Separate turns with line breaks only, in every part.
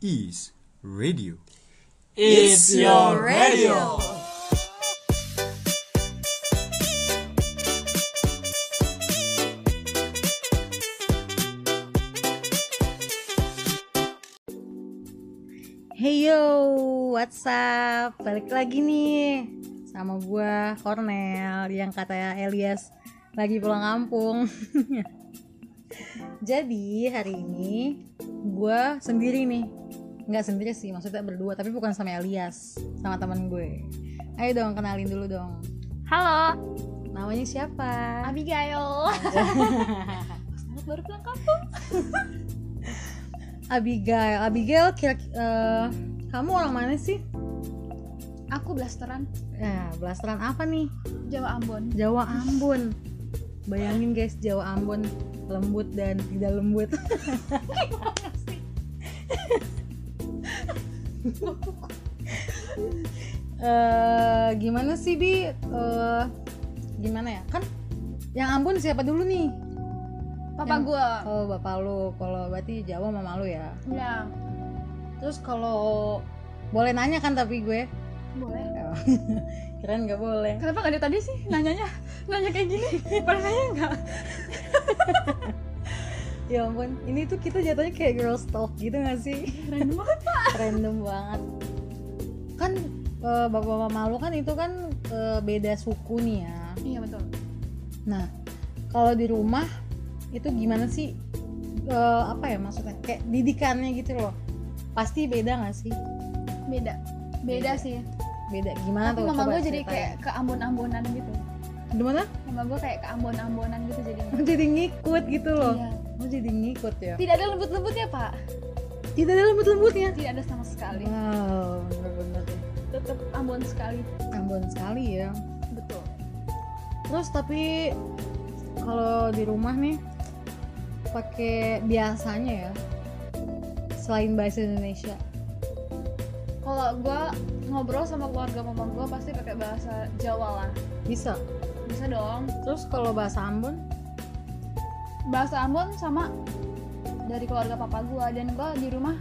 is radio.
It's your radio.
Hey yo, what's up? Balik lagi nih sama gua Cornel yang kata Elias lagi pulang kampung. Jadi hari ini gua sendiri nih, nggak sendiri sih, maksudnya berdua tapi bukan sama Elias, sama teman gue. Ayo dong kenalin dulu dong.
Halo,
Namanya siapa?
Abigail. Banget baru pulang kampung.
Abigail. Abigail, kira eh, kamu orang mana sih?
Aku blasteran
Nah, blasteran apa nih?
Jawa Ambon.
Jawa Ambon. Bayangin guys, Jawa Ambon lembut dan tidak lembut.
Oh,
Eh, gimana sih bi? Eh, gimana ya? Kan yang Ambon siapa dulu nih?
Papa
Yang-
gue
Oh bapak lu, kalau berarti Jawa mama lu ya.
bilang
Terus kalau boleh nanya kan tapi gue
boleh.
keren nggak boleh.
Kenapa nggak dari tadi sih nanyanya? Nanya kayak gini. Pernah nanya nggak?
Ya ampun, ini tuh kita jatuhnya kayak girls talk gitu gak sih?
Random banget.
random banget kan eh, bapak mama lu kan itu kan eh, beda suku nih ya
Iya betul.
nah kalau di rumah itu gimana sih Eh, apa ya maksudnya kayak didikannya gitu loh pasti beda nggak sih
Beda. Beda sih.
beda gimana tuh
Tapi mama
Coba
gue jadi
ceritain.
kayak ke Ambon-Ambonan gitu.
gimana
Mama gue kayak ke Ambon-Ambonan gitu jadinya.
jadi ngikut gitu loh
Iya.
Lu jadi ngikut ya
Tidak ada lembut-lembutnya pak.
tidak ada lembut-lembutnya
Tidak ada sama sekali.
wow bener-bener deh.
Tetap Ambon sekali.
Ambon sekali ya
Betul.
terus tapi kalau di rumah nih pakai biasanya ya selain bahasa Indonesia
Kalau gue ngobrol sama keluarga mama gue pasti pakai bahasa Jawa lah.
bisa
Bisa dong.
terus kalau bahasa Ambon
bahasa Ambon sama dari keluarga papa gua dan gua di rumah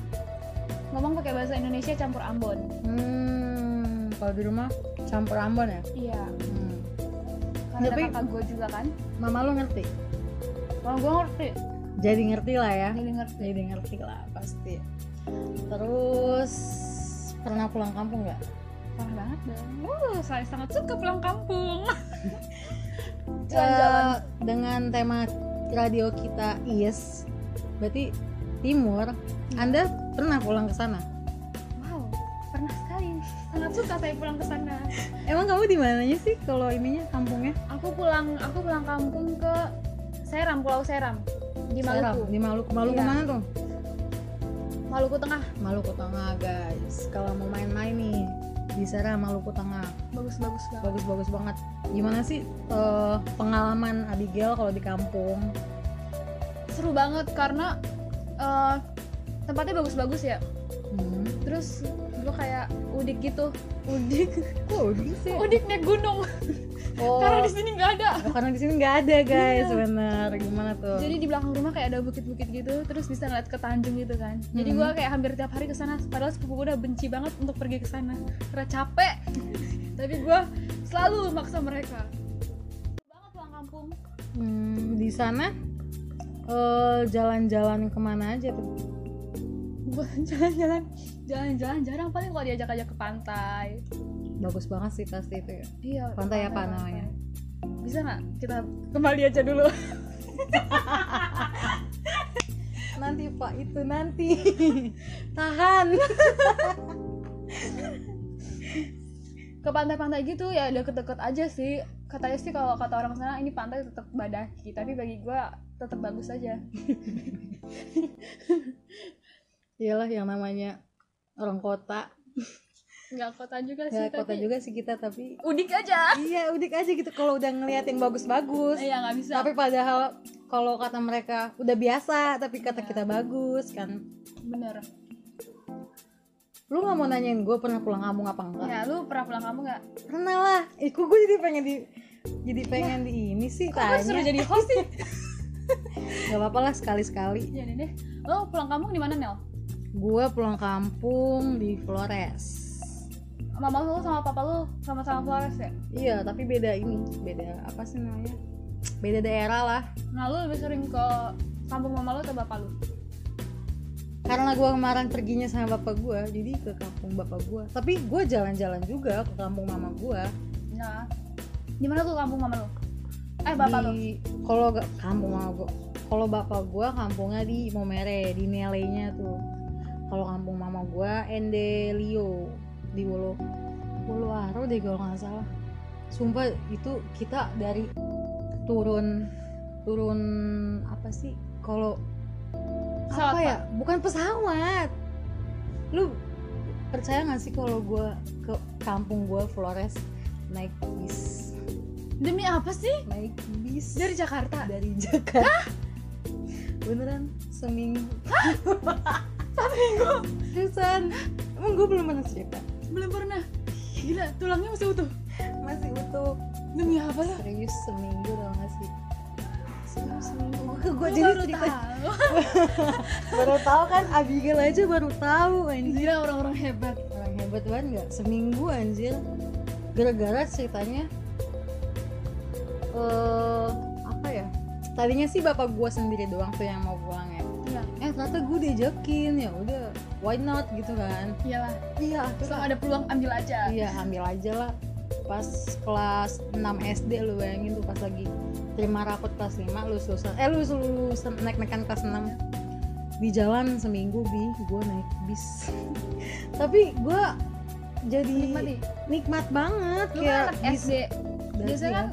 ngomong pakai bahasa Indonesia campur Ambon.
hmm kalau di rumah campur Ambon ya
Iya,
hmm.
karena ada
Tapi-
kakak gua juga kan.
mama lo ngerti
Kalau gua ngerti,
jadi ngerti lah ya
jadi ngerti.
jadi ngerti lah pasti terus pernah pulang kampung nggak
Parah banget dong. Uh, saya sangat suka pulang kampung.
Eh,
Jalan-jalan.
dengan tema radio kita Is berarti timur
Hmm.
Anda pernah pulang ke sana
Wow, pernah sekali. Sangat suka saya pulang ke sana.
Emang kamu di mananya sih kalau ininya kampungnya?
Aku pulang, aku pulang kampung ke Seram, Pulau Seram di
Serang,
Maluku,
Di Maluku. Maluku
Iya.
mana tuh?
Maluku Tengah.
Maluku Tengah, guys. Kalau mau main-main nih di Serang Maluku Tengah.
Bagus-bagus banget.
Bagus-bagus banget. Gimana sih eh, pengalaman Abigail kalau di kampung?
Seru banget karena eh, tempatnya bagus-bagus ya.
Hmm.
terus gue kayak udik gitu udik
Kok udah sih?
udik naik gunung
Oh,
karena di sini nggak ada
oh, karena di sini nggak ada, guys.
Iya.
Bener. Gimana tuh?
jadi di belakang rumah kayak ada bukit-bukit gitu terus bisa ngeliat ke Tanjung gitu kan jadi gue
Mhm.
kayak hampir tiap hari ke sana padahal sepupu gue udah benci banget untuk pergi ke sana karena capek tapi gue selalu maksa mereka Seru banget pulang kampung
Hmm, di sana eh, jalan-jalan kemana aja tuh?
gue jalan-jalan jalan-jalan jarang paling kalau diajak-ajak ke pantai
Bagus banget sih pasti itu ya.
iya ke
Pantai apa
pantai.
namanya?
bisa nggak kita kembali aja dulu
nanti pak itu nanti tahan
ke pantai-pantai gitu ya deket-deket aja sih katanya sih kalau kata orang sana ini pantai tetap badaki tapi bagi gua tetap bagus aja
iyalah yang namanya orang kota
nggak kota juga Iya sih
ya kota
tapi
juga sih kita tapi
udik aja
iya udik aja gitu kalau udah ngeliat yang bagus-bagus
iya nggak bisa
tapi padahal kalau kata mereka udah biasa tapi kata kita bagus kan
bener
lu nggak mau nanyain gue pernah pulang kampung apa enggak
ya lu pernah pulang kamu nggak
pernah lah eh gue jadi pengen di jadi pengen di ini sih
kok gua disuruh
tanya
jadi host sih Iya
nggak apa-apa lah sekali-sekali
jadi deh lu pulang kampung di mana Nel
gue pulang kampung di Flores
Mama lu sama papa lu sama-sama Flores ya?
iya tapi beda ini beda apa sih namanya beda daerah lah
Nah lu lebih sering ke kampung mama lu atau bapak lu?
karena gue kemarin perginya sama bapak gue jadi ke kampung bapak gue tapi gue jalan-jalan juga ke kampung mama gue
Nah, di mana tuh kampung mama lu? Eh bapak lu?
di kalau gak kampung mama gue kalau bapak gue kampungnya di Momere di Nelenya tuh kalau kampung mama gue Endelio di Wolo Woloaro deh kalau nggak salah sumpah itu kita dari turun turun apa sih kalau
Pesawat,
apa ya bukan pesawat lu percaya nggak sih kalau gue ke kampung gue Flores naik bis
Demi apa sih?
naik bis
Dari Jakarta?
dari Jakarta beneran seminggu seminggu seriusan emang gue belum pernah cerita
Belum pernah Gila, tulangnya masih utuh
masih utuh
Demi apa lu?
serius seminggu tau gak sih serius seminggu gue
Lu
jadi
baru
cerita
tahu.
baru tahu kan Abigail aja baru tahu anjir
Gila orang-orang hebat
orang hebat banget nggak seminggu anjir gara-gara ceritanya eh apa ya tadinya sih bapak gua sendiri doang tuh yang mau pulang ya
Iya,
eh ternyata gue diajakin ya udah why not gitu kan
iyalah
iya
Selama ada peluang ambil aja
iya ambil aja lah pas kelas 6 SD lu bayangin tuh pas lagi terima rapot kelas 5 lu lulusan eh lu lulusan naik naikan kelas 6 di jalan seminggu bi gue naik bis tapi gue jadi
Menikmati
nikmat banget
Lu
kayak
kan anak
bis-
SD
dan-
Biasanya kan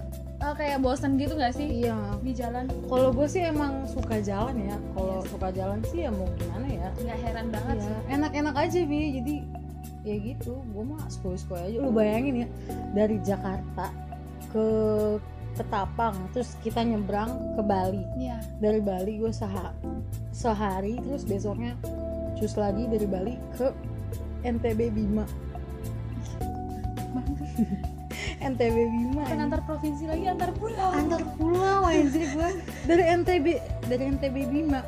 eh, kayak bosan gitu gak
iya.
sih?
iya
Di jalan
kalau gue sih emang suka jalan ya kalau suka jalan sih ya mau gimana ya
nggak heran banget
Iya,
sih
enak-enak aja bi jadi ya gitu gue mah sepoi-sepoi aja lu bayangin ya dari Jakarta ke Ketapang terus kita nyebrang ke Bali
Iya
dari Bali gue sehari terus besoknya cus lagi dari Bali ke NTB Bima NTB Bima
Bukan
ya.
antar provinsi lagi, antar pulau
antar pulau anjir gue dari NTB dari NTB Bima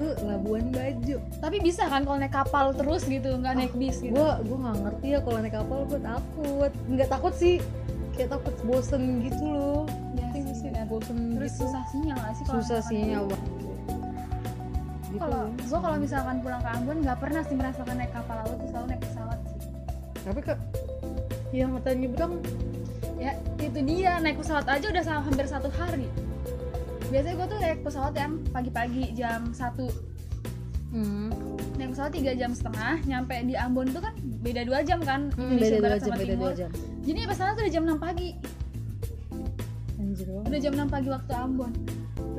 ke Labuan Bajo
Tapi bisa kan kalau naik kapal terus gitu,
Ah,
nggak naik bis gitu
gue gue nggak ngerti ya kalau naik kapal gue takut nggak takut sih kayak takut bosen gitu loh
Iya
Ngerti nggak
sih,
sih?
benar.
bosen
Terus
gitu
susah sinyal nggak sih kalau
susah Gitu. sih
misalkan
nyawa
Gua Kalau gue kalau misalkan pulang ke Ambon nggak pernah sih merasakan naik kapal laut, tuh selalu naik pesawat sih.
tapi kok yang mata nyebrang
Ya itu dia naik pesawat aja udah sama hampir satu hari. Biasanya gue tuh naik pesawat yang pagi-pagi jam 1
hmm,
Naik pesawat 3 jam setengah Nyampe di Ambon tuh kan beda 2 jam kan
Hmm,
Indonesia
beda dua
Barat
jam
sama
beda
Timur
dua jam
Jadi pas sana tuh udah jam 6 pagi
anjir banget
Udah jam 6 pagi waktu Ambon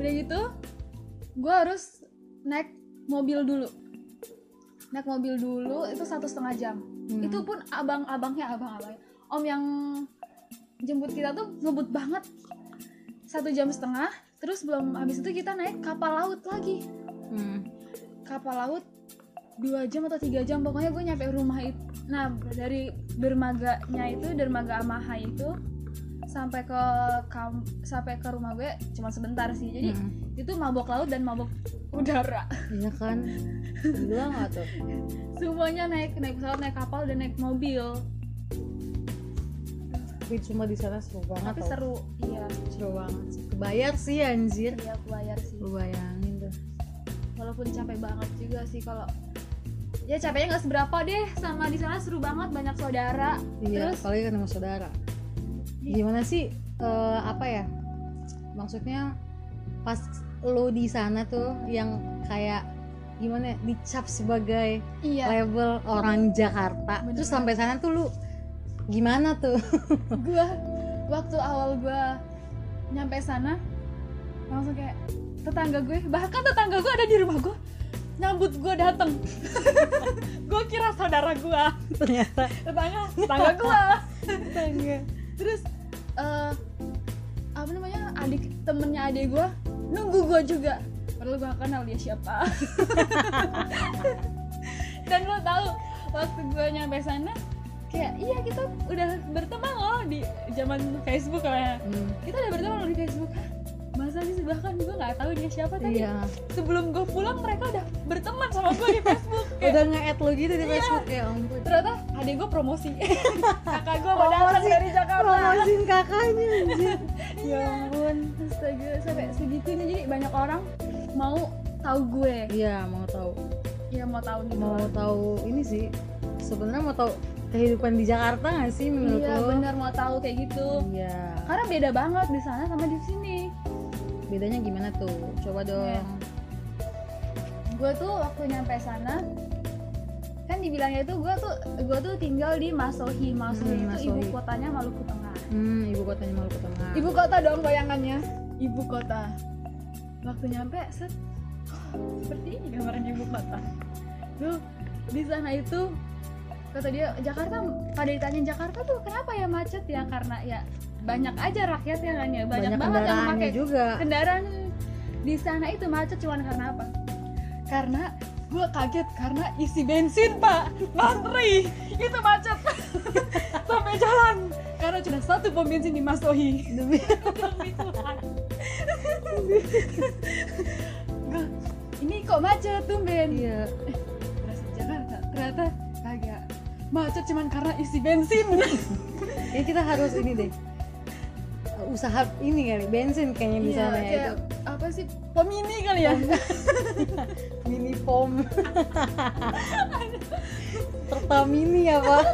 Udah gitu Gue harus naik mobil dulu Naik mobil dulu itu satu setengah jam
Hmm.
Itu pun abang-abangnya abang-abangnya Om yang jemput kita tuh ngebut banget Satu jam setengah Terus belum habis itu kita naik kapal laut lagi
hmm.
Kapal laut dua jam atau tiga jam pokoknya gue nyampe rumah itu nah dari dermaganya itu dermaga Amahai itu sampai ke kam- sampai ke rumah gue cuma sebentar sih jadi
Hmm.
itu mabok laut dan mabok udara
iya kan gila nggak tuh
semuanya naik naik pesawat naik kapal dan naik mobil
tapi cuma di sana seru banget
tapi
tau.
seru iya
seru banget sih. kebayar sih anjir
iya aku bayar sih
lu bayangin tuh
walaupun capek banget juga sih kalau ya capeknya nggak seberapa deh sama di sana seru banget banyak saudara
Iya,
terus
apalagi ketemu saudara.
Iya.
Gimana sih eh, apa ya? Maksudnya pas lo di sana tuh yang kayak gimana ya, dicap sebagai
iya
label orang Jakarta.
Bener
Terus
banget.
sampai sana tuh lu gimana tuh?
gua waktu awal gua nyampe sana langsung kayak tetangga gue bahkan tetangga gue ada di rumah gue nyambut gue dateng gue kira saudara gue
Ternyata
tetangga tetangga gue
tetangga.
terus eh apa namanya adik temennya adik gue nunggu gue juga padahal gue kenal dia siapa dan lo tahu waktu gue nyampe sana kayak iya kita udah berteman loh di zaman Facebook lah
Hmm,
kita udah berteman loh di Facebook Hah? masa sih bahkan gue nggak tahu dia siapa tadi
iya.
sebelum gue pulang mereka udah berteman sama gue di Facebook
udah nge-add lo gitu
Iya.
di Facebook ya ampun
ternyata adik gue promosi kakak gue mau datang
promosi
dari Jakarta
promosin kakaknya anjir ya
Iya.
ampun
astaga sampai segitunya jadi banyak orang mau tahu gue
iya mau tahu
ya mau tahu gitu
mau tahu ini sih sebenarnya mau tahu kehidupan di Jakarta nggak sih menurut
iya
lo
benar mau tahu kayak gitu
iya
karena beda banget di sana sama di sini
bedanya gimana tuh coba dong
Iya. gue tuh waktu nyampe sana kan dibilangnya itu gue tuh gue tuh tinggal di Masohi Masohi
Hmm,
itu ibu
Masohi.
kotanya Maluku Tengah
hmm ibu kotanya Maluku Tengah
ibu kota dong bayangannya ibu kota waktu nyampe set seperti ini gambaran ibu kota tuh di sana itu kata dia Jakarta pada ditanya Jakarta tuh kenapa ya macet ya karena ya banyak aja rakyat ya kan ya banyak, banget yang
kendaraannya
pakai
juga
kendaraan di sana itu macet cuman karena apa karena gue kaget karena isi bensin pak antri itu macet sampai jalan karena cuma satu pom bensin di Masohi
Demi-
Gua, ini kok macet tuh Ben
iya
terus Jakarta ternyata kagak macet cuman karena isi bensin
ya kita harus ini deh uh, usaha ini kali bensin kayaknya
Iya,
di sana ya
kayak
itu
apa sih pom ini kali ya
mini pom Pertamini ya pak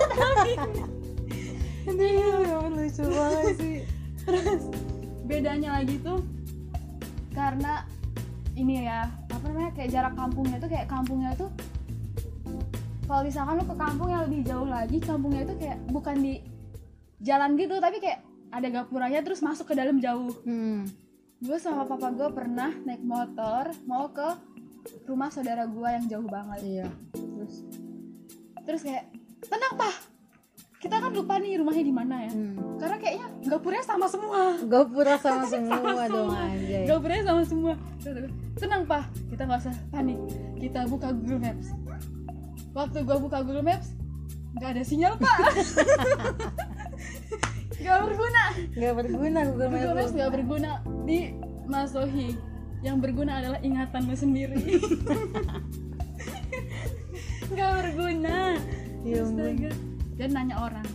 Aduh, ya ampun, lucu banget sih
bedanya lagi tuh karena ini ya apa namanya kayak jarak kampungnya tuh kayak kampungnya tuh kalau misalkan lu ke kampung yang lebih jauh lagi kampungnya tuh kayak bukan di jalan gitu tapi kayak ada gapuranya terus masuk ke dalam jauh
hmm.
gue sama papa gue pernah naik motor mau ke rumah saudara gue yang jauh banget
iya terus
terus kayak tenang pak kita kan lupa nih rumahnya di mana ya
hmm.
karena kayaknya gapurnya sama semua
gapura sama semua dong anjay
Gapurnya sama semua. Terus aku, Tenang pak, kita nggak usah panik. Kita buka Google Maps. Waktu gua buka Google Maps, nggak ada sinyal pak. gak berguna.
nggak berguna Google
Google
Maps
Maps nggak berguna di Masohi. Yang berguna adalah ingatan lu sendiri. gak berguna. Iya,
ya ampun
Astaga. Dan nanya orang.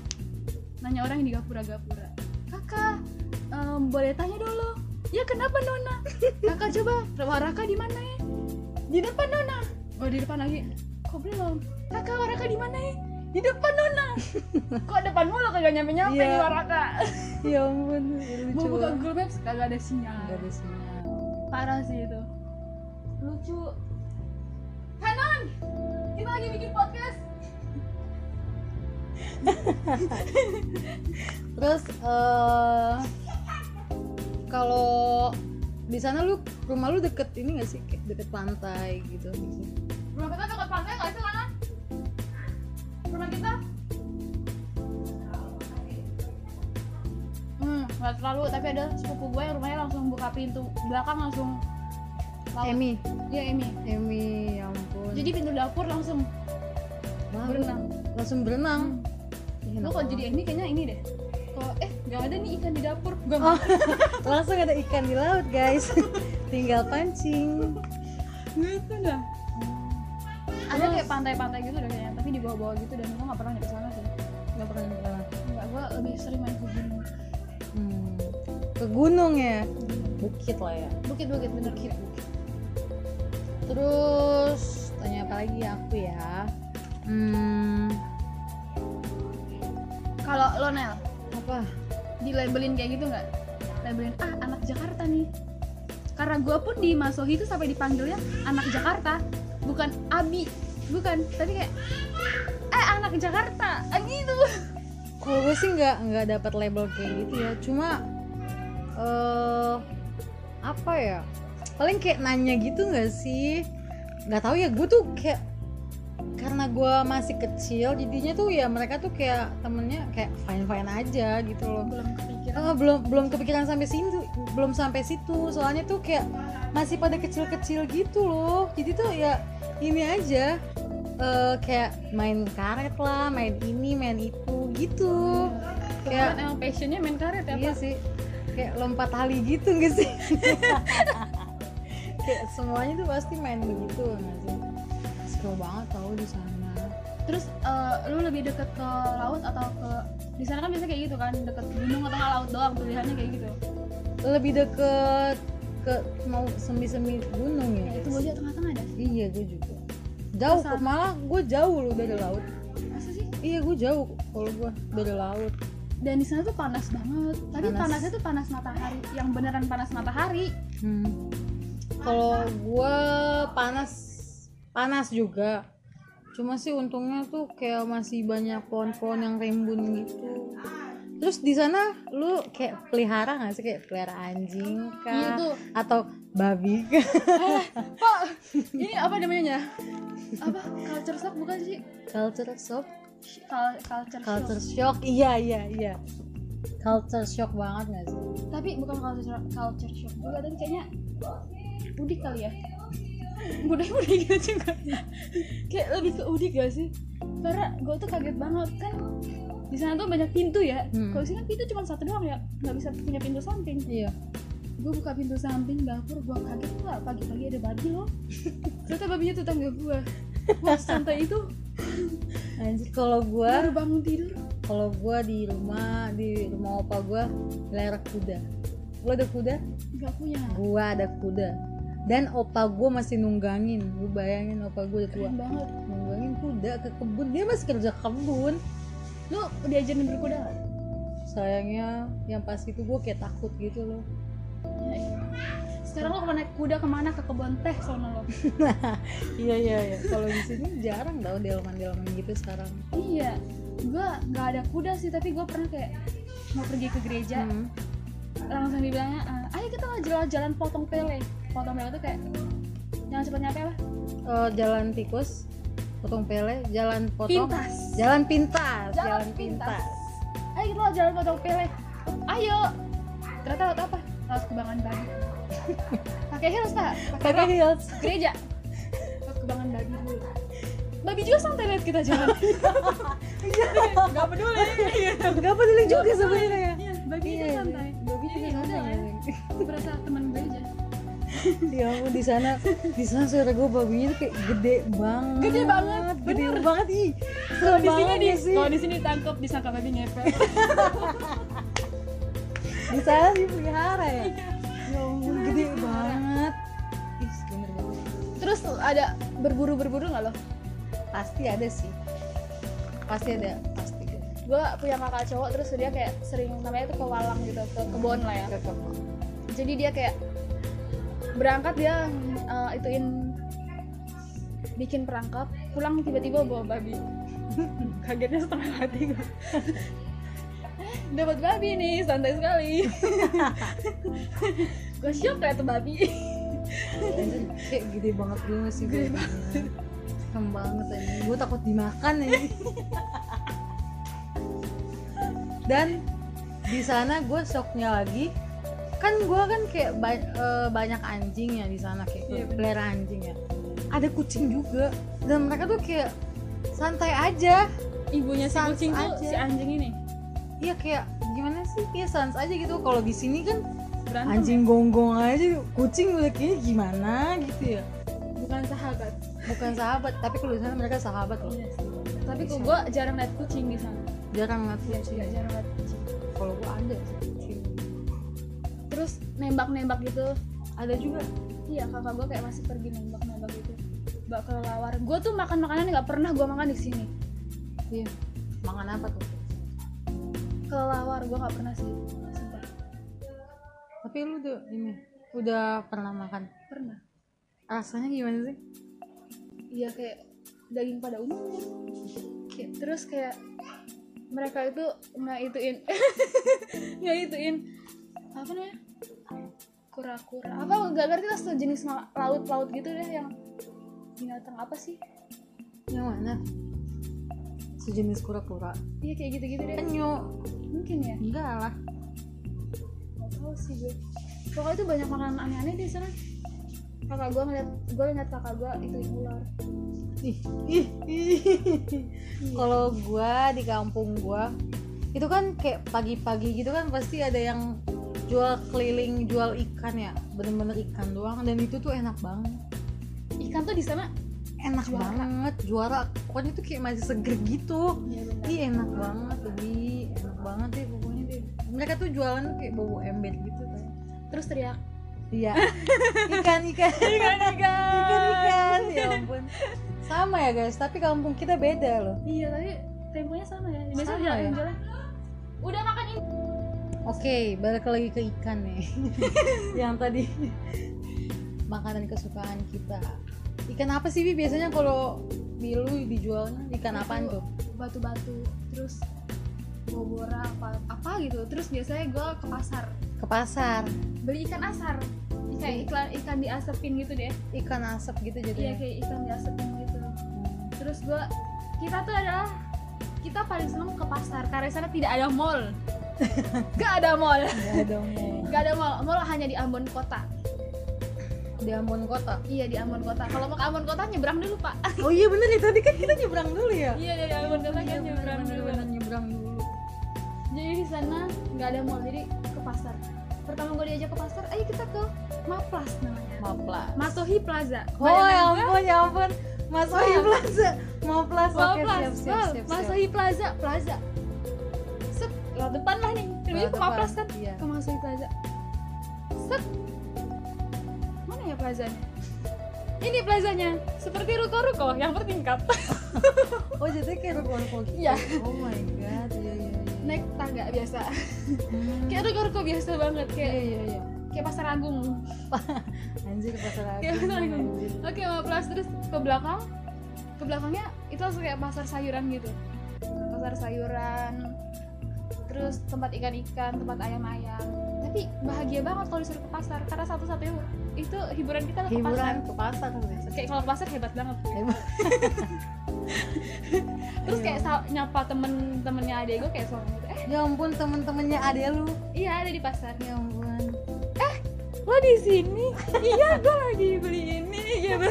Nanya orang yang di gapura-gapura. Kakak, em, boleh tanya dulu. Ya kenapa Nona? Kakak coba rumah Raka di mana ya? Di depan Nona. Oh di depan lagi. Kok belum? Kakak Waraka di mana ya? Di depan Nona. Kok depan mulu kagak nyampe-nyampe
Iya.
di Waraka.
ya ampun
Mau
lucu
buka
banget
Google Maps kagak ada sinyal.
nggak ada sinyal
Parah sih itu. Lucu. Kanon, kita lagi bikin podcast.
terus eh kalau di sana lu rumah lu deket ini gak sih Kayak deket pantai gitu
Rumah kita dekat pantai nggak sih Lana? Rumah kita? Hmm, nggak terlalu. Tapi ada sepupu gue yang rumahnya langsung buka pintu belakang langsung. laut.
Emi
Iya Emi.
Emi ya ampun
Jadi pintu dapur langsung
Wah, lu
berenang. Iya,
langsung berenang Ih, enak
Lu kalau
banget.
jadi Emi kayaknya ini deh. Kok eh nggak ada nih ikan di dapur. Gue
Oh, langsung ada ikan di laut guys tinggal pancing
gitu dah.
oh.
Ada kayak pantai-pantai gitu deh kayaknya, tapi di bawah-bawah gitu dan gue nggak pernah nyampe sana sih.
nggak pernah nyelam.
Enggak, gue lebih sering main ke gunung.
hmm. ke gunung ya bukit lah ya
Bukit-bukit bener kira.
Terus tanya apa lagi ya aku ya? Hmm,
Kalau lo Nel,
apa?
dilabelin kayak gitu nggak? Labelin ah anak Jakarta nih. Karena gue pun di Masohi itu sampai dipanggilnya anak Jakarta, bukan Abi, bukan. Tapi kayak eh anak Jakarta, ah, gitu.
Kalau gue sih nggak nggak dapat label kayak gitu ya. Cuma eh apa ya? Paling kayak nanya gitu nggak sih? Nggak tahu ya. Gue tuh kayak karena gue masih kecil, jadinya tuh ya mereka tuh kayak temennya kayak fine fine aja gitu loh.
Belum kepikiran.
Eh, belum belum kepikiran sampai situ belum sampai situ soalnya tuh kayak masih pada kecil-kecil gitu loh jadi tuh ya ini aja eh, kayak main karet lah main ini main itu gitu
Kan
kayak
emang passionnya main karet ya
iya
Pak?
sih kayak lompat tali gitu nggak sih kayak semuanya tuh pasti main begitu nggak sih hijau banget tau di sana
terus eh, lu lebih deket ke laut atau ke di sana kan biasanya kayak gitu kan deket gunung atau nggak laut doang pilihannya kayak gitu
lebih deket ke mau semi-semi gunung
ya
ya
itu aja tengah-tengah ada
iya gue juga jauh
Masa?
malah gue jauh loh dari laut
masa sih
iya gue jauh kalau gue dari laut
dan di sana tuh panas banget tapi
Panas.
panasnya tuh panas matahari yang beneran panas matahari
Hmm. Kalau gue panas panas juga. Cuma sih untungnya tuh kayak masih banyak pohon-pohon yang rimbun gitu. Terus di sana lu kayak pelihara nggak sih kayak pelihara anjing kah?
Iya tuh.
Atau babi kah?
pak ini apa namanya apa culture shock bukan sih
Culture shock,
Sh- cul- culture,
culture
shock
shock. Iya iya iya. Culture shock banget nggak sih?
tapi bukan culture shock, culture shock juga tapi kayaknya udik kali ya budaya budaya gitu juga kayak lebih ke udik gak sih karena gue tuh kaget banget kan di sana tuh banyak pintu ya
Hmm.
kalau di sini kan pintu cuma satu doang ya nggak bisa punya pintu samping
Iya.
gue buka pintu samping dapur gue kaget gua pagi-pagi ada babi loh ternyata babinya tetangga gue wah santai itu
Anjir kalau gue
baru bangun tidur
kalau gue di rumah di rumah opa gue pelihara kuda. Lo ada kuda?
nggak punya
gua ada kuda dan opa gua masih nunggangin lu bayangin opa gua udah tua
keren banget
nunggangin kuda ke kebun dia masih kerja kebun
lu diajarin berkuda nggak?
sayangnya yang pas itu gua kayak takut gitu loh
sekarang lo kemana kuda kemana ke kebun teh sono lo
iya iya iya kalau di sini jarang tau delman delman gitu sekarang
iya gue nggak ada kuda sih tapi gue pernah kayak mau pergi ke gereja
Hmm.
langsung dibilangnya "Ah, ayo kita jalan jalan potong pele potong pele tuh kayak jangan cepet nyampe lah
Eh, jalan tikus potong pele jalan potong
Pintas.
jalan pintas
jalan, pintas. ayo kita jalan potong pele ayo ternyata laut apa laut kubangan babi pakai heels tak pakai
pakai heels
rok. gereja laut kubangan babi dulu babi juga santai lihat kita jalan nggak peduli
nggak peduli juga sebenarnya
iya babi itu
Iya,
santai
babi juga
Jadi ya udah
santai.
lah. berasa teman gue aja
Ya ampun di sana di sana saudara gue babinya tuh kayak gede banget.
Gede banget,
gede
bener.
banget ih.
kalau
Serem
di sini
banget
di
ya sih.
kalau di sini tangkap disangka babi ngepet
Di sana dipelihara
Iya.
ya. Ya ampun gede banget. Ih, bener banget.
terus ada berburu berburu nggak lo
Pasti ada sih. Pasti ada, pasti.
gue punya kakak cowok terus dia kayak sering namanya tuh ke walang gitu ke kebon lah ya
Cocok.
jadi dia kayak berangkat dia eh, ituin bikin perangkap pulang tiba-tiba bawa babi kagetnya setengah hati gue dapat babi nih santai sekali gue syok ternyata babi
Anjir, kayak gede banget dulu sih gede banget. Serem banget anjing. Gue takut dimakan ya. anjing. Dan di sana gue shocknya lagi kan gue kan kayak ba- eh, banyak anjing ya di sana kayak
Iya, bener.
pelihara anjing ya ada kucing juga dan mereka tuh kayak santai aja
ibunya si
Sans
kucing tuh
aja.
si anjing ini
iya kayak gimana sih ya sans aja gitu kalau di sini kan
berantem
anjing gonggong aja kucing udah kayaknya gimana gitu ya
bukan sahabat
bukan sahabat tapi kalau di sana mereka sahabat loh
Iya. tapi kok gue jarang liat kucing di sana
jarang
ya
ngeliat kucing
juga jarang liat kucing
kalau gua ada sih kucing
terus nembak-nembak gitu
ada juga
iya kakak gue kayak masih pergi nembak-nembak gitu bak kelelawar gue tuh makan makanan nggak pernah gue makan di sini
iya makan apa tuh
kelelawar gue nggak pernah sih sumpah
tapi lu udah ini udah pernah makan
pernah
rasanya gimana sih
iya kayak daging pada umumnya Kayak- terus kayak mereka itu nggak ituin nggak ituin apa namanya kura-kura apa nggak ngerti lah sejenis ma- laut-laut gitu deh yang binatang apa sih
yang mana sejenis kura-kura
iya kayak gitu-gitu deh
penyu
mungkin ya
enggak lah
nggak tahu sih gue pokoknya itu banyak makanan aneh-aneh di sana kakak gue ngeliat gue ngeliat kakak gue itu ular
ih ih ih. kalau gua di kampung gua itu kan kayak pagi-pagi gitu kan pasti ada yang jual keliling jual ikan ya bener-bener ikan doang dan itu tuh enak banget
ikan tuh di sana
enak
Juara.
banget juara pokoknya tuh kayak masih seger gitu
Iya benar.
ih enak banget lebih enak banget deh pokoknya deh mereka tuh jualan tuh kayak bobo ember gitu kan
Terus teriak
iya ikan ikan ikan
Iya,
ikan ikan ya ampun sama ya guys tapi kampung kita beda loh
Iya tapi temponya sama ya. Biasanya
Sama
jalan
ya?
jalan. Udah makan ini.
Oke, balik lagi ke ikan nih. yang tadi makanan kesukaan kita. Ikan apa sih Bi biasanya kalau Bilu dijualnya? Ikan apaan tuh?
Batu-batu. Terus bobora apa apa gitu. Terus biasanya gue ke pasar
Ke pasar.
beli ikan asar. Kayak iklan ikan diasepin gitu deh.
Ikan asap gitu
Iya
jadinya.
kayak ikan diasepin gitu. Terus gue kita tuh adalah kita paling seneng ke pasar karena di sana tidak ada mall. Gak ada mall.
Ya dong.
Gak ada mall. Mall hanya di Ambon kota.
Di Ambon kota.
Iya di Ambon kota. Kalau mau ke Ambon kota nyebrang dulu pak.
Oh iya bener nih tadi kan kita nyebrang dulu ya.
iya dari Ambon kota kan nyebrang dulu.
bener nyebrang dulu.
Jadi di sana nggak ada mall jadi ke pasar. Pertama gue diajak ke pasar, ayo kita ke Maplas namanya.
Maplas.
Matohi Plaza.
Oh ya ampun, ya ampun. Mas Oi Plaza. Mau Plaza. Oke, siap,
Maplas.
siap, siap, siap.
Matohi Plaza, Plaza. Set, lewat depan lah nih. Namanya
Lewat
ke Maplas
depan,
kan?
iya.
Ke Matohi Plaza. Set. Mana ya plazanya? Ini plazanya. Seperti ruko-ruko yang bertingkat.
Oh, jadi kayak ruko-ruko gitu.
Iya.
Oh my god. Iya, iya, iya.
Naik tangga biasa.
Hmm.
kayak ruko-ruko biasa banget kayak
Iya iya iya.
kayak pasar agung.
Anjir pasar aku.
Kayak pasar agung. Oke, Maplas terus ke belakang. Ke belakangnya itu langsung kayak pasar sayuran gitu. Pasar sayuran. Terus tempat ikan-ikan, tempat ayam-ayam. Tapi bahagia banget kalau disuruh ke pasar karena satu-satunya itu hiburan kita ke
Hiburan
pasar.
ke pasar guys.
Kayak kalau ke pasar hebat banget.
Hebat.
Terus kayak sa- nyapa temen-temennya adek gue kayak soalnya gitu. Eh,
Iya. Ya ampun temen-temennya ade lu.
iya ada di pasar.
Ya ampun.
Lo di sini? iya, gue lagi beli ini. Iya,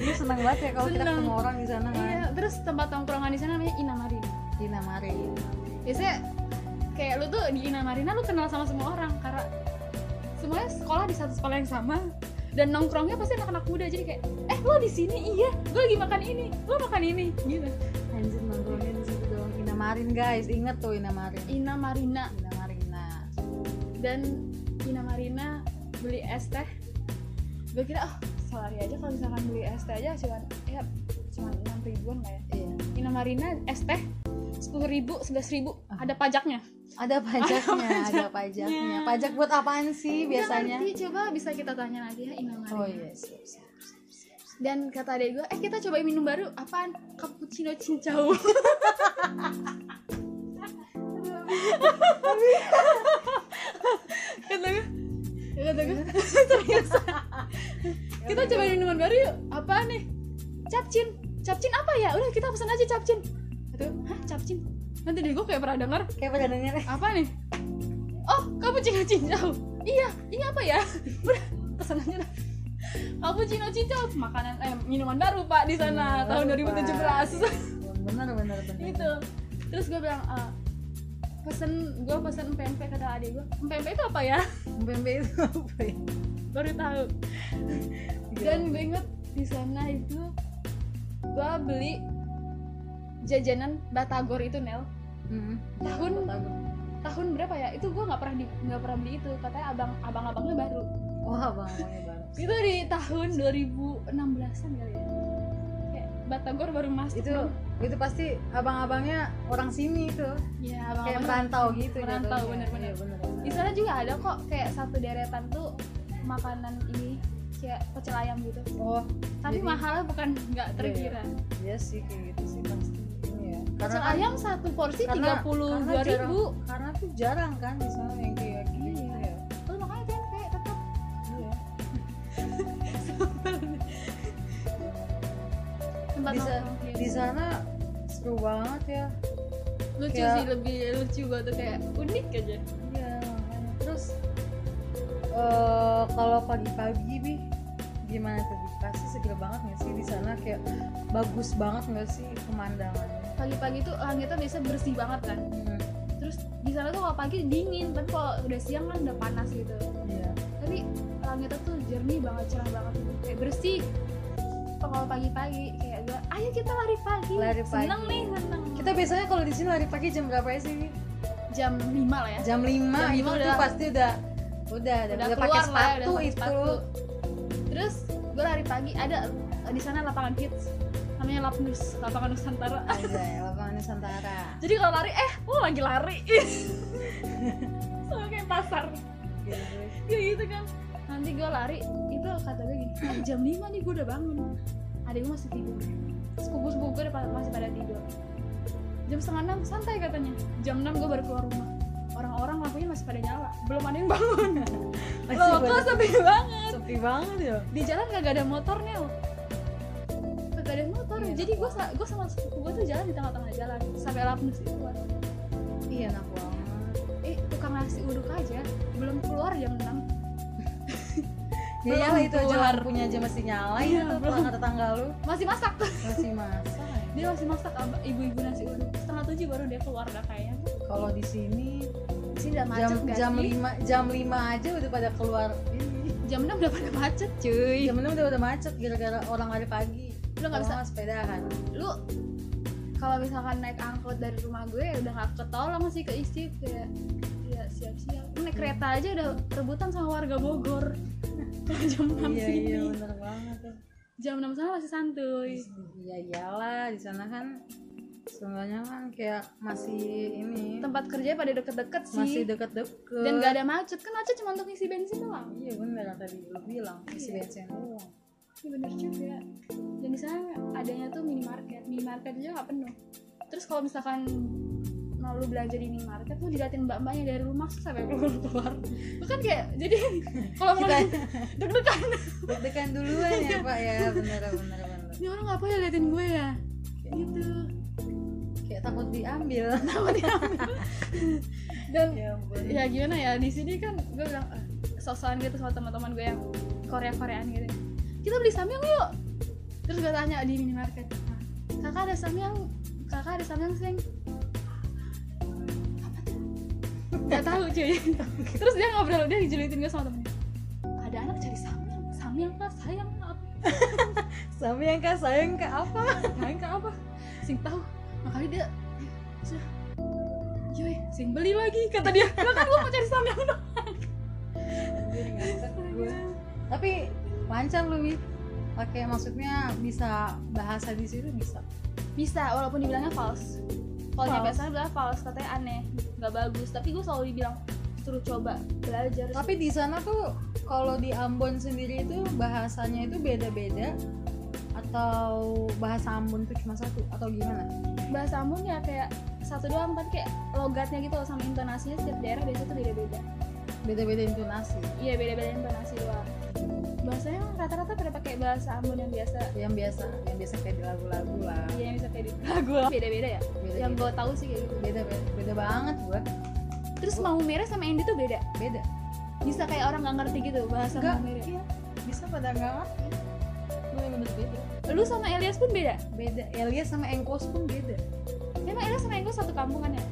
Dia seneng banget ya kalau kita
Seneng.
ketemu orang di sana kan.
Iya, terus tempat tongkrongan di sana namanya Inamarin.
Dina Mari.
Biasanya kayak lu tuh di Inamarina lu kenal sama semua orang karena semuanya sekolah di satu sekolah yang sama dan nongkrongnya pasti anak-anak muda jadi kayak eh lo di sini iya gue lagi makan ini lo makan ini gitu
Anjir nongkrongnya di situ doang. Dina Marin guys, inget tuh Dina Marin.
Inamarina
Dina Marina.
dan Inamarina beli es teh gue kira oh salari aja kalau misalkan beli es teh aja cuman ya cuman enam ribuan lah ya
Iya.
Inamarina es teh sepuluh ribu sebelas ribu ada pajaknya
Ada pajaknya, Iya, ada pajaknya. Pajak buat apaan sih
Nggak
biasanya?
ngerti, coba bisa kita tanya nanti ya Inamari.
Oh iya, siap, siap, siap, siap.
Dan kata adek gue, eh kita coba minum baru, apaan? Cappuccino cincau. kata gue, kata gue, serius. kita coba minuman baru yuk, apaan nih? Capcin, capcin apa ya? Udah kita pesan aja capcin. Kata gue, hah capcin? Nanti deh gue kayak pernah denger,
Kayak pada denger eh,
apa nih? Oh, cappuccino cincau. Iya, ini apa ya? Udah, pesan aja dah. Cappuccino cincau, makanan eh minuman baru Pak di
Minuman
sana tahun
baru,
2017.
Bener bener bener.
gitu. Terus gue bilang, "Eh, pesen gue pesen PMP kata adik gue PMP itu apa ya
Pempek itu apa ya?
baru tahu
Iya.
dan gue inget di sana itu gue beli jajanan batagor itu Nel
Mm-mm.
Tahun.
Tahun.
tahun berapa ya itu gue nggak pernah di nggak pernah beli itu katanya abang abang abangnya baru
Wah bang, bang, bang.
itu di tahun 2016an kali ya kayak Batagor baru masuk
itu
dong.
itu pasti abang-abangnya orang sini itu
ya
kayak
abang-abang.
merantau gitu
merantau
jatuhnya.
bener-bener
Iya, bener
di sana juga ada kok kayak satu deretan tuh makanan ini kayak pecel ayam gitu
oh
tapi
Jadi-
mahalnya bukan nggak
Iya,
terkira
iya sih kayak gitu sih pasti ini ya
pecel
kan-
ayam satu porsi
karena-
tiga puluh
karena
dua
jarang-
ribu
karena tuh jarang kan di sana yang kayak gitu
Iya.
ya
terus makanya kan kayak tetap
Iya.
tempat
Di sa-
nongkrong
di
gitu.
sana seru banget ya
lucu
kayak-
sih lebih lucu gua tuh kayak unik aja
iya makanya. terus eh, kalau pagi-pagi bi gimana tuh Bi? pasti seger banget nggak sih di sana kayak bagus banget nggak sih pemandangannya
pagi-pagi tuh langitnya biasa bersih banget kan
Hmm,
terus di sana tuh kalau pagi dingin tapi kalau udah siang kan udah panas gitu
iya
tapi langitnya tuh jernih banget cerah banget gitu. kayak bersih Kalau kalau pagi-pagi kayak gue ayo kita lari pagi
Lari pagi.
seneng nih seneng
Kita biasanya kalau di sini lari pagi jam berapa ya sih?
jam 5 lah ya
Jam 5
Jam
itu
lima
tuh
udah-
pasti udah udah udah, udah pakai
lah, ya, udah
sepatu
pakai
itu.
sepatu. terus gue lari pagi ada eh, di sana lapangan kids namanya Lapnus lapangan Nusantara
Anjay, ya, lapangan Nusantara.
jadi kalau lari eh oh lagi lari sama kayak pasar
Gitu.
kayak gitu kan nanti gue lari itu kata gue gini "Ah, jam 5 nih gue udah bangun adik gue masih tidur sepupu-sepupu gue udah pada- masih pada tidur jam setengah enam santai katanya jam 6 gue baru keluar rumah orang-orang lampunya masih pada nyala belum ada yang bangun
Masih
loh kok
banyak-
sepi banget
sepi banget ya.
di jalan gak ada motornya loh gak ada motor
Iya.
jadi gue sa- gue sama sepupu gue tuh jalan di tengah-tengah jalan sampai lapnus itu
Iya enak banget.
eh tukang nasi uduk aja belum keluar jam 6
Ya
Belum
iyalah itu aja
keluar.
lampunya aja masih nyala ya
Iya,
tuh
belum.
tetangga tetangga lu
masih masak
masih masak.
dia masih masak ab- ibu-ibu nasi uduk setengah tujuh baru dia keluar dah kayaknya
Kalau di sini
sih udah
jam
macet gak
jam
sih?
5 jam 5 aja udah pada keluar. Ini.
jam enam udah pada macet cuy
Jam 6 udah pada macet gara-gara orang lari pagi.
Lu nggak
Kalau
bisa.
nggak sepedahan.
lu kalau misalkan naik angkot dari rumah gue ya udah gak ketolong sih ke istri kayak ya siap-siap Lu
Hmm.
naik kereta aja udah rebutan sama warga Bogor Kalau jam enam
Iya
sini
iya bener banget. ya.
jam enam sana masih santuy
Iya iyalah di sana kan sebenarnya kan kayak masih ini
tempat kerja pada deket-deket sih
masih deket-deket.
dan gak ada macet kan macet cuma untuk ngisi bensin doang
Iya bener yang tadi lu bilang isi
Iya.
bensin doang.
Iya bener juga. Dan di sana adanya tuh minimarket. Minimarket aja nggak penuh. Terus kalau misalkan mau lu belanja di minimarket tuh diliatin mbak-mbaknya dari rumah terus sampai keluar keluar. Bukan kayak jadi kalau mau
Kita-
deg-degan.
Deg-degan duluan ya pak ya bener bener bener.
Ini orang ngapain ya liatin gue ya? Gitu.
Kayak takut diambil.
Dan
ya ampun.
ya gimana ya di sini kan gue bilang ah, sosokan gitu sama teman-teman gue yang Korea Koreaan gitu kita beli samyang yuk terus gue tanya di minimarket "Ah, kakak ada samyang kakak ada samyang seng Apa tuh? nggak tahu cuy terus dia ngobrol dia dijulitin gue sama temennya ada anak cari samyang samyang lah sayang lah apa
Sama yang kak sayang kak apa?
main ke apa sing tahu makanya dia sudah yoi sing beli lagi kata dia lah kan gue mau cari samyang dong
Iya, Tapi lancar lu Mi. Oke maksudnya bisa bahasa di situ bisa.
bisa walaupun dibilangnya false kalau
False.
dia biasanya bilang false katanya aneh nggak bagus tapi gue selalu dibilang suruh coba belajar
Tapi di sana tuh kalau di Ambon sendiri itu bahasanya itu beda-beda atau bahasa Ambon tuh cuma satu atau gimana?
bahasa Ambon ya kayak satu dua empat kayak logatnya gitu loh sama intonasinya setiap daerah biasanya tuh beda-beda
Beda-beda intonasi.
iya beda-beda intonasi doang bahasanya emang rata-rata pada pakai bahasa Ambon yang biasa
Yang biasa, yang biasa kayak di lagu-lagu lah.
iya yang bisa kayak di lagu lah. beda-beda ya
Beda-beda.
yang gue tahu sih kayak gitu
Beda, beda, beda banget gua.
terus mau merah sama Andy tuh beda
Beda.
bisa kayak orang nggak ngerti gitu bahasa
Nggak,
mau merah
iya. Bisa pada nggak ngerti. Bener-bener Iya. beda.
lu sama Elias pun beda
Beda. Elias sama Engkos pun beda.
emang Elias sama Engko satu kampungan ya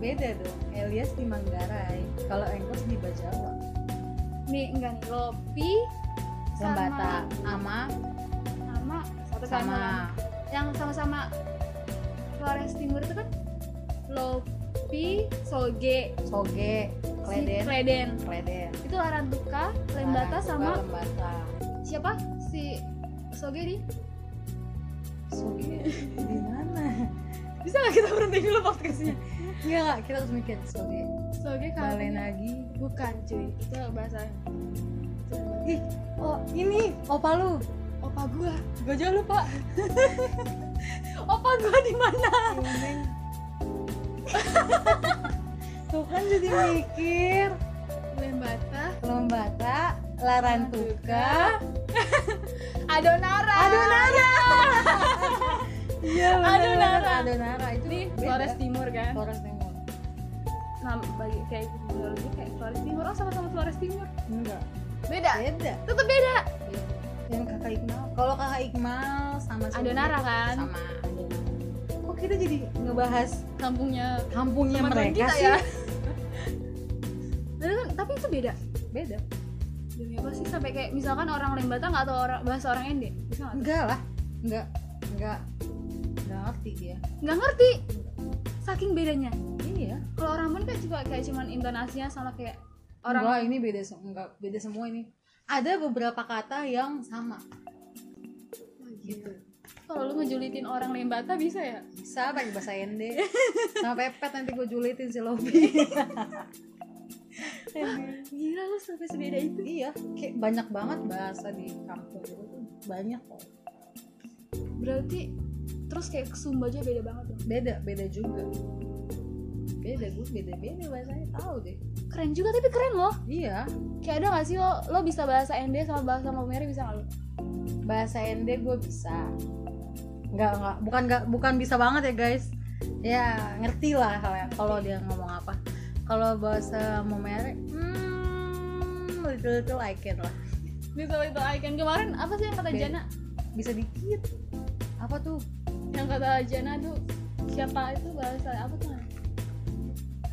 Beda dong. Elias di Manggarai, kalau Engkos di Bajawa.
nih enggak nih Lopi
Lembata, Ama,
sama satu sama
sama
yang sama-sama Flores Timur itu kan Lopi Soge
Soge,
si
Kleden,
Kleden
Kleden.
itu Larantuka Lembata
Larantuka,
sama
Lembata.
siapa si Soge di
Soge di mana?
bisa nggak kita berhenti dulu podcastnya
Enggak, enggak, kita harus mikir Soge.
Soge kan
Balenagi.
bukan cuy itu bahasa itu
Ih, oh ini opa lu.
opa gua
Gue aja lupa.
opa gua di mana
Neng. Tuh kan jadi mikir.
Lembata
Lombata, Larantuka,
Adonara
Adonara. Iya, benar-benar.
Adonara.
Adonara itu
di
beda.
Flores Timur kan
Flores Timur.
Nah, bagi kayak menurut gue kayak Flores Timur oh sama-sama Flores Timur
Enggak.
beda
Beda.
tetep beda
Yang Kakak Iqmal. Kalau Kakak Iqmal sama si-
Adonara kan?
Sama Adonara. Kok kita jadi ngebahas
kampungnya
kampungnya
teman-teman
Iya, mereka
kita
sih?
ya Padahal kan- tapi itu beda
Beda.
demi apa sih sampai kayak misalkan orang Lembata nggak tahu orang bahasa orang Ende bisa nggak
Enggak lah. nggak nggak nggak ngerti dia
nggak ngerti saking bedanya
iya
kalau orang pun kan cuma kayak cuman intonasinya sama kayak
orang
orang
ini beda se- nggak beda semua ini ada beberapa kata yang sama
Oh, iya.
gitu
kalau "Oh, lu ngejulitin orang lembata bisa ya
bisa pakai bahasa ende sama pepet nanti gue julitin si Lobi
gila lu sampai sebeda itu
iya kayak banyak banget bahasa di kampung gue tuh banyak kok
berarti terus kayak Sumba aja beda banget ya
beda beda juga beda gue beda beda bahasanya tahu deh
keren juga tapi keren loh
iya
kayak ada gak sih lo lo bisa bahasa ND sama bahasa Maumere bisa gak lo
bahasa ende gue bisa nggak nggak bukan nggak bukan bisa banget ya guys ya ngerti lah kalau kalau dia ngomong apa kalau bahasa Momere hmm little little I can lah
bisa itu icon kemarin apa sih yang kata
Beda.
Jana
bisa dikit apa tuh
yang kata Jana tuh siapa itu bahasa apa tuh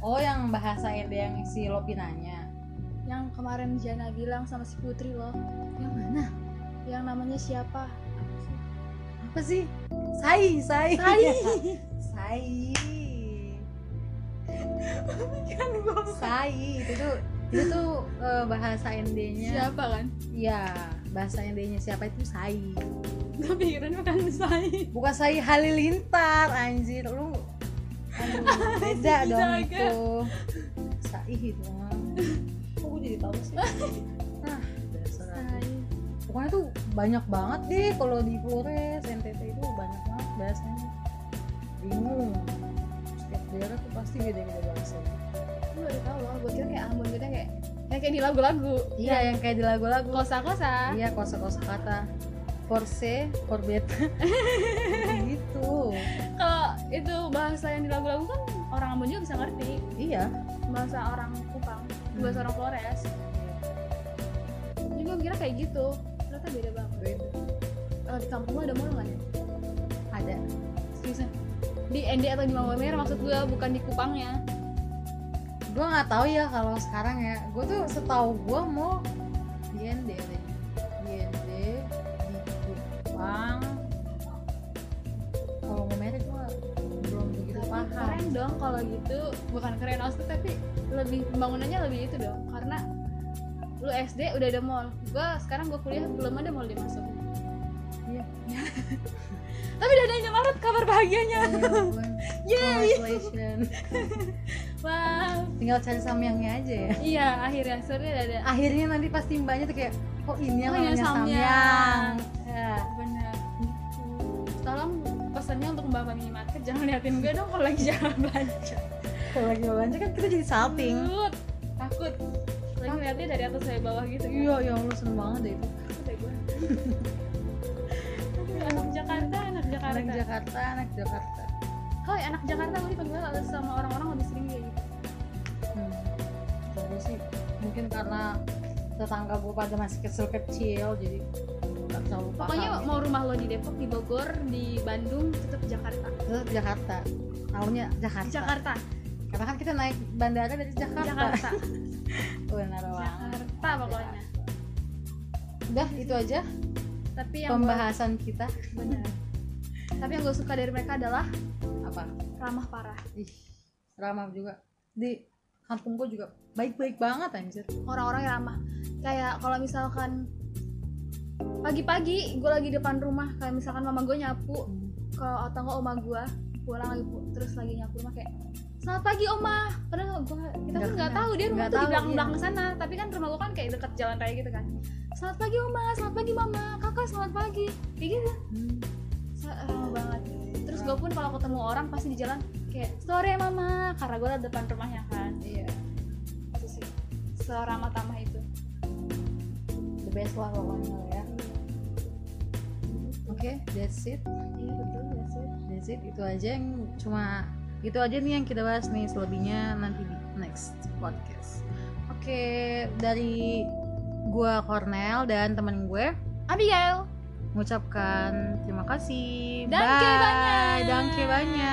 oh yang bahasa ende yang si Lopi nanya
yang kemarin Jana bilang sama si Putri loh
yang mana
yang namanya siapa
apa sih sai sai
Sai.
sai Kan sai itu tuh itu tuh eh, bahasa endenya
siapa kan
ya bahasa endenya siapa itu sai
gue pikiran bukan Sai
bukan sai halilintar anjir lu aduh, beda
Si
dong
Saga.
itu sai itu mah kok gue jadi tahu sih ah dasar aku.
Sai
pokoknya tuh banyak banget deh kalau di Flores NTT itu banyak banget bahasanya bingung setiap daerah tuh pasti beda-beda bahasanya
lu udah tau loh gue kira kayak Ambon gitu kayak kayak kayak di lagu-lagu
iya yang kayak di lagu-lagu
kosa-kosa
iya kosa-kosa kata Porsche, Corvette gitu
kalau itu bahasa yang di lagu-lagu kan orang Ambon juga bisa ngerti
iya
bahasa orang Kupang bahasa orang Flores jadi gue kira kayak gitu ternyata beda banget
beda
kalau di kampung lu ada mall nggak ya
ada
seriusan di ND atau di Maumere maksud gue bukan di Kupangnya
gue nggak tahu ya kalau sekarang ya gue tuh setahu gue mau di ND deh di ND di Kupang kalau mau merek gue belum begitu
Tapi
paham
keren dong kalau gitu bukan keren maksudnya tapi lebih pembangunannya lebih itu dong karena lu SD udah ada mall gue sekarang gue kuliah belum ada mall dimasuk
Iya.
tapi udah ada Indomaret kabar bahagianya
Iya. Yay! Congratulations.
wow
Tinggal cari samyangnya aja ya.
iya akhirnya sebenarnya udah ada
Akhirnya nanti pasti mbaknya tuh kayak, oh ini yang
Oh, iya,
namanya
samyang."
samyang. Ya.
benar tolong pesannya untuk mbak mbak minimarket jangan liatin gue dong kalau lagi jalan belanja
Kalau lagi belanja kan kita jadi salting.
takut takut lagi liatnya dari atas sampai bawah gitu
Iya, ya Allah seneng banget deh itu.
Udah gua. anak Jakarta, anak Jakarta.
Anak Jakarta, anak Jakarta.
Hoi, anak Jakarta gue dipanggil sama orang-orang lebih sering kayak gitu.
Hmm. Kalau gue sih mungkin karena tetangga gue pada masih kecil-kecil jadi nggak terlalu paham.
Pokoknya
gitu.
mau rumah lo di Depok, di Bogor, di Bandung, tetap Jakarta.
Terus Jakarta. Tahunya Jakarta.
Di Jakarta,
Karena kan kita naik bandara dari Jakarta.
Jakarta,
Benar banget.
Jakarta pokoknya.
Udah itu aja
Tapi yang gua,
pembahasan kita
bener. Tapi yang gue suka dari mereka adalah
apa?
ramah parah.
Ih, ramah juga. Di kampung gue juga baik-baik banget anjir.
Orang-orang yang ramah. Kayak kalau misalkan pagi-pagi gue lagi depan rumah, kayak misalkan mama gue nyapu, kalau atau nggak oma gua pulang lagi pu- terus lagi nyapu rumah kayak selamat pagi oma padahal gua
Nggak
kita kan nggak
kenal.
tahu dia rumah
Nggak
tuh di
tahu,
belakang belakang
iya.
sana tapi kan rumah gua kan kayak deket jalan raya gitu kan selamat pagi oma selamat pagi mama kakak selamat pagi kayak gitu
Hmm.
Sa- ramah banget terus gua pun kalau ketemu orang pasti di jalan kayak sore mama karena gua ada depan rumahnya kan
Iya,
itu sih seramah tamah itu
the best lah pokoknya ya. Oke, that's it.
iya betul ya sih
That's it. Itu aja yang cuma itu aja nih yang kita bahas nih selebihnya nanti di next podcast. Oke, dari gua Cornel dan teman gue
Abigail
mengucapkan terima kasih.
Danke banyak.
Danke banyak.